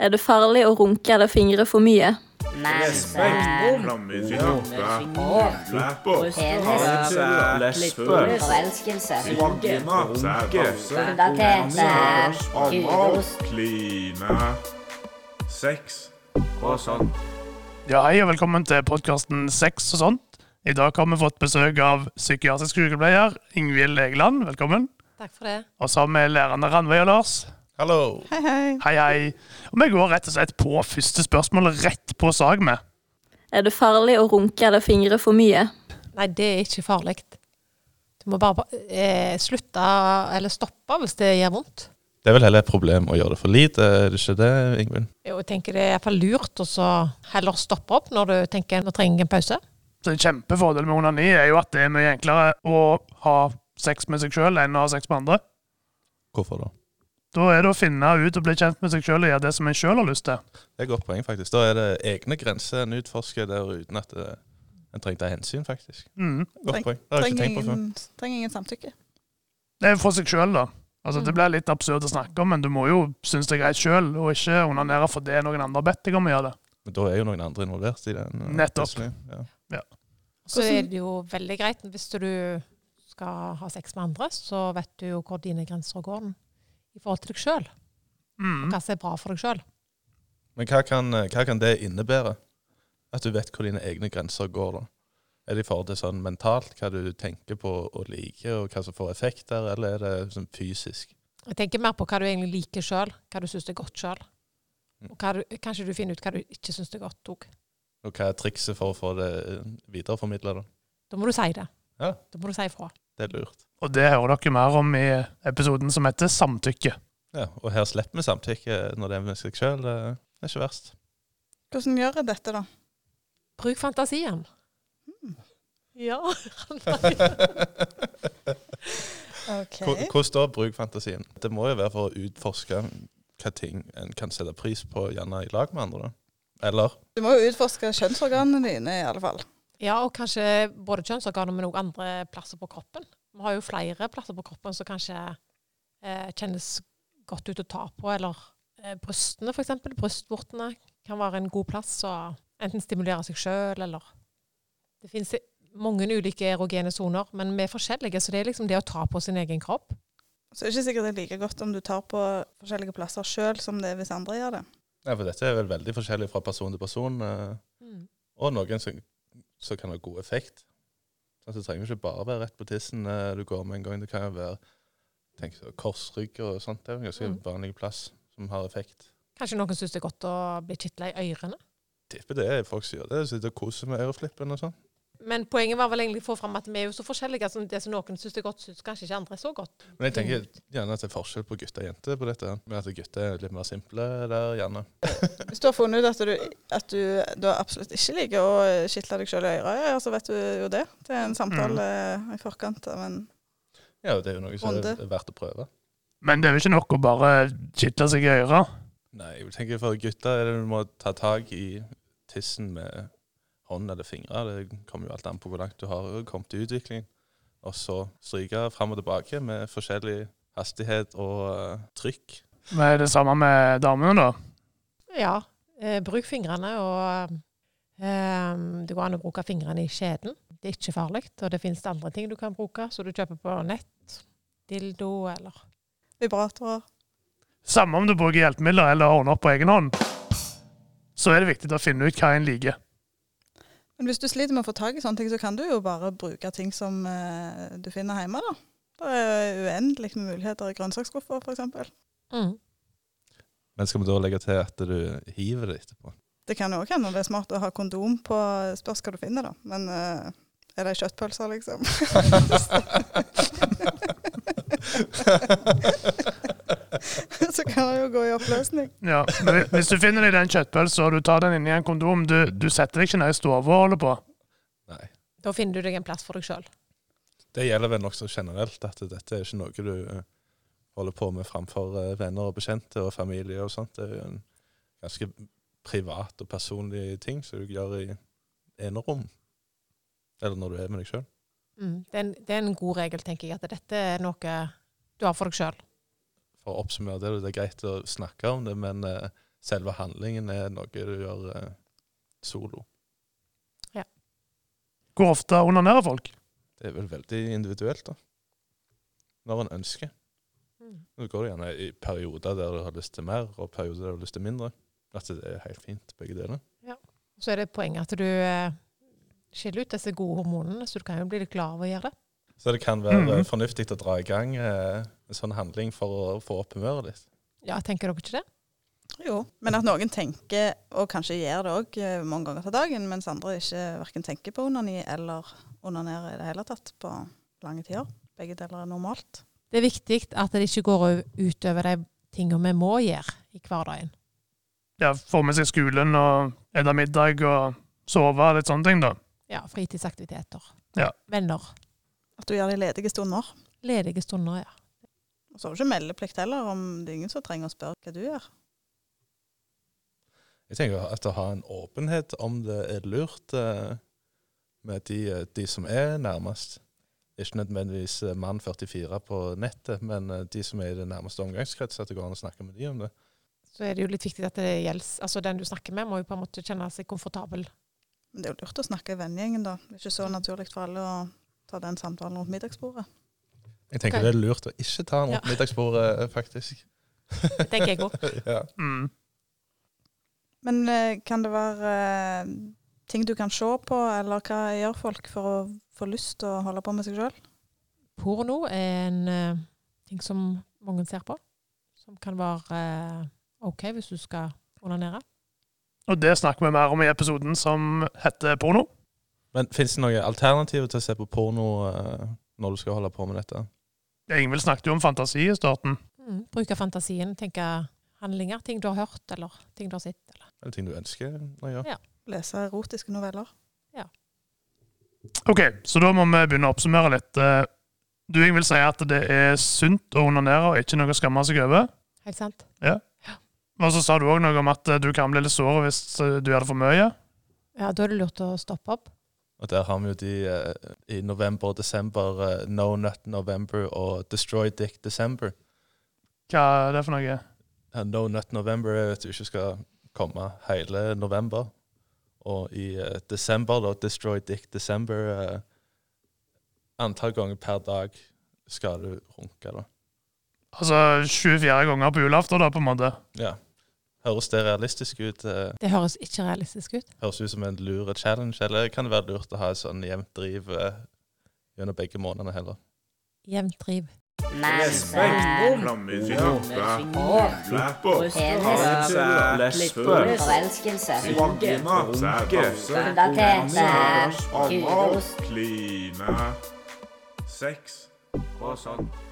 Er det farlig å runke eller fingre for mye? Nespe, flammes i natta, flepper, Penis. lesbe, Forelskelse. vagina, sædmasse, Pubertet. anal, Kudost. kline, sex og sånn. Ja, hei og velkommen til podkasten Sex og sånt. I dag har vi fått besøk av psykiatrisk sykepleier Ingvild Egeland. Velkommen. Takk for det. Og så har vi lærerne Ranveig og Lars. Hallo. Hei, hei. Og vi går rett og slett på første spørsmål, rett på sak med. Er det farlig å runke eller fingre for mye? Nei, det er ikke farlig. Du må bare eh, slutte eller stoppe hvis det gjør vondt. Det er vel heller et problem å gjøre det for lite, er det ikke det, Ingvild? Jo, Jeg tenker det er iallfall lurt å så heller stoppe opp når du tenker nå trenger jeg en pause. Så En kjempefordel med onani er jo at det er mye enklere å ha sex med seg sjøl enn å ha sex med andre. Hvorfor da? Da er det å finne ut og bli kjent med seg sjøl og gjøre det som en sjøl har lyst til. Det er et godt poeng, faktisk. Da er det egne grenser en utforsker der uten at eh, en trenger ta hensyn, faktisk. Mm. Godt Treng- poeng. Det har jeg ikke Trenger tenkt på før. ingen, trenger ingen samtykke. Det er for seg sjøl, da. Altså, Det blir litt absurd å snakke om, men du må jo synes det er greit sjøl, og ikke onanere for det noen andre har bedt deg om å gjøre det. Men da er jo noen andre involvert i den. eh, Nettopp. plutselig. Ja. Så Hvordan- er det jo veldig greit hvis du skal ha sex med andre, så vet du jo hvor dine grenser går i forhold til deg sjøl. Mm. Hva som er bra for deg sjøl. Men hva kan, eh, hva kan det innebære? At du vet hvor dine egne grenser går, da? Er det i forhold til sånn mentalt, hva du tenker på og liker, og hva som får effekter, eller er det sånn fysisk? Jeg tenker mer på hva du egentlig liker sjøl, hva du syns er godt sjøl. Og hva du, kanskje du finner ut hva du ikke syns er godt òg. Og hva er trikset for å få det eh, videreformidlet, da? Da må du si det. Ja. Da må du si ifra. Det er lurt. Og det hører dere mer om i episoden som heter Samtykke. Ja, og her slipper vi samtykke når det er med seg sjøl. Det er ikke verst. Hvordan gjør jeg dette, da? Bruk fantasien. Ja. Hvor- Hvordan da bruk fantasien? Det må jo være for å utforske hva ting en kan sette pris på, gjerne i lag med andre. da. Eller Du må jo utforske kjønnsorganene dine, i alle fall. ja, og kanskje både kjønnsorganer, men òg andre plasser på kroppen. Vi har jo flere plasser på kroppen som kanskje eh, kjennes godt ut å ta på, eller eh, brystene f.eks. Brystvortene kan være en god plass å enten stimulere seg sjøl, eller Det finnes mange ulike erogene soner, men vi er forskjellige, så det er liksom det å ta på sin egen kropp. Så det er ikke sikkert det er like godt om du tar på forskjellige plasser sjøl som det er hvis andre gjør det. Nei, for dette er vel veldig forskjellig fra person til person. eh, Og noen som, som kan ha god effekt. Sånn, så trenger det ikke bare være rett på tissen eh, du går med en gang. Det kan jo være tenk, så, korsrygg og sånt. Det er jo en ganske Mm. vanlig plass som har effekt. Kanskje noen syns det er godt å bli kitla i ørene. Tipper det er folk som gjør det. Sitter og koser med øreflippen og sånn. Men poenget var vel egentlig å få fram at vi er jo så forskjellige. Altså det som noen syns er godt, syns kanskje ikke andre er så godt. Men jeg tenker gjerne at det er forskjell på gutter og jenter på dette. Men at gutter er litt mer simple der, gjerne. Hvis du har funnet ut at du, at du, da absolutt ikke liker å kitle deg sjøl i øret, ja, så vet du jo det. Det er en samtale Mm. eh, i forkant av en Ja, og det er jo noe som Bonde. er verdt å prøve. Men det er jo ikke nok å bare kitle seg i øra. Nei, jeg tenker for gutter er det du må ta tak i tissen med hånd eller fingre. Det kommer jo alt an på hvor langt du har kommet i utviklingen. Og så stryke fram og tilbake med forskjellig hastighet og eh, trykk. Men det er det samme med damene, da. Ja. Eh, bruk fingrene, og eh, det går an å bruke fingrene i skjeden. Det er ikke farlig. Og det finnes andre ting du kan bruke, så du kjøper på nett. Dildo eller vibratorer. Samme om du bruker hjelpemidler eller ordner opp på egen hånd, så er det viktig å finne ut hva en liker. Men hvis du sliter med å få tak i sånne ting, så kan du jo bare bruke ting som eh, du finner hjemme, da. Det er uendelig med muligheter i grønnsaksskuffer, f.eks. mm. Men skal vi da legge til at du hiver det etterpå? Det kan jo også hende det er smart å ha kondom på spørs hva du finner, da. Men eh, er det kjøttpølser, liksom? så kan det jo gå i oppløsning. Ja, men hvis- Hvis du finner deg den kjøttpølsa og du tar den inni en kondom, du, du setter deg ikke ned i stua og holder på. Nei. Da finner du deg en plass for deg sjøl. Det gjelder vel nokså generelt at dette er ikke noe du eh, holder på med framfor eh, venner og bekjente og familie og sånt. Det er jo en ganske privat og personlig ting som du gjør i enerom. Eller når du er med deg sjøl. Mm. Det, er en- det er en god regel, tenker jeg, at dette er noe du har for deg sjøl. For å oppsummere det, det er greit å snakke om det, men eh, selve handlingen er noe du gjør eh, solo. Hvor ofte onanerer folk? Det er vel veldig individuelt, da. Når en ønsker. Mm. Det går det gjerne i perioder der du har lyst til mer, og perioder der du har lyst til mindre. At det er helt fint, begge deler. Så er det poenget at du eh, skiller ut disse gode hormonene, så du kan jo bli litt glad av å gjøre det. Så det kan være Mhm. eh, fornuftig å dra i gang eh, en sånn handling for å få opp humøret ditt. Ja, tenker dere ikke det? Jo, men at noen tenker, og kanskje gjør det òg mange ganger til dagen, mens andre ikke verken tenker på onani eller onanerer i det hele tatt på lange tider. Begge deler er normalt. Det er viktig at det ikke går u- utover de tingene vi må gjøre i hverdagen. Ja, Får med seg skolen og spise middag og sove og litt sånne ting, da. Ja, fritidsaktiviteter. Ja. Venner. At du gjør det i ledige stunder. Ledige stunder, ja. Og så har du ikke meldeplikt heller, om det er ingen som trenger å spørre hva du gjør. Jeg tenker at å ha en åpenhet om det er lurt eh, med de, eh, de som er nærmest. Ikke nødvendigvis eh, mann 44 på nettet, men eh, de som er i det nærmeste omgangskrets, at det går an å snakke med de om det. Så er det jo litt viktig at det gjelder Altså, den du snakker med, må jo på en måte kjenne seg komfortabel. Men det er jo lurt å snakke i vennegjengen, da. Det er ikke så naturlig for alle å ta den samtalen rundt middagsbordet. Jeg tenker Ok. det er lurt å ikke ta den rundt middagsbordet, eh, faktisk. Det tenker jeg òg. ja. Mm. Men eh, kan det være eh, ting du kan se på, eller hva gjør folk for å få lyst til å holde på med seg sjøl? Porno er en eh, ting som mange ser på, som kan være eh, OK hvis du skal onanere. Og det snakker vi mer om i episoden som heter Porno. Men fins det noen alternativer til å se på porno eh, når du skal holde på med dette? Ingvild snakket jo om fantasi i starten. Mm. Bruke fantasien, tenke handlinger, ting du har hørt, eller ting du har sett. Eller. Er det ting du ønsker å gjøre? Lese erotiske noveller? Ok, så da må vi begynne å oppsummere litt. Eh, Du Ingvild sier at det er sunt å onanere og ikke noe å skamme seg over. Helt sant? Og så sa du òg noe om at eh, du kan bli litt såret hvis eh, du gjør det for mye. Ja, da er det lurt å stoppe opp. Og der har vi jo de eh, i november og desember, eh, No Nut November og Destroy Dick December. Hva er det for noe? Ja, No Nut November er at du ikke skal komme hele november. Og i eh, desember, da, Destroy Dick December eh, Antall ganger per dag skal du runke, da. Altså 24 ganger på julaften, da, på en måte. Ja. Høres det realistisk ut? eh, Det høres ikke realistisk ut. høres ut som en lure challenge, eller kan det være lurt å ha et sånn jevnt driv eh, gjennom begge månedene heller? Jevnt driv. Respekt, mensen, flammefingerpe, hår, lepper, penis, panse, lesbe, klitoris, forelskelse, vagina, sædbøsse, pubertet, anal, kudos, kline, sex og sånt.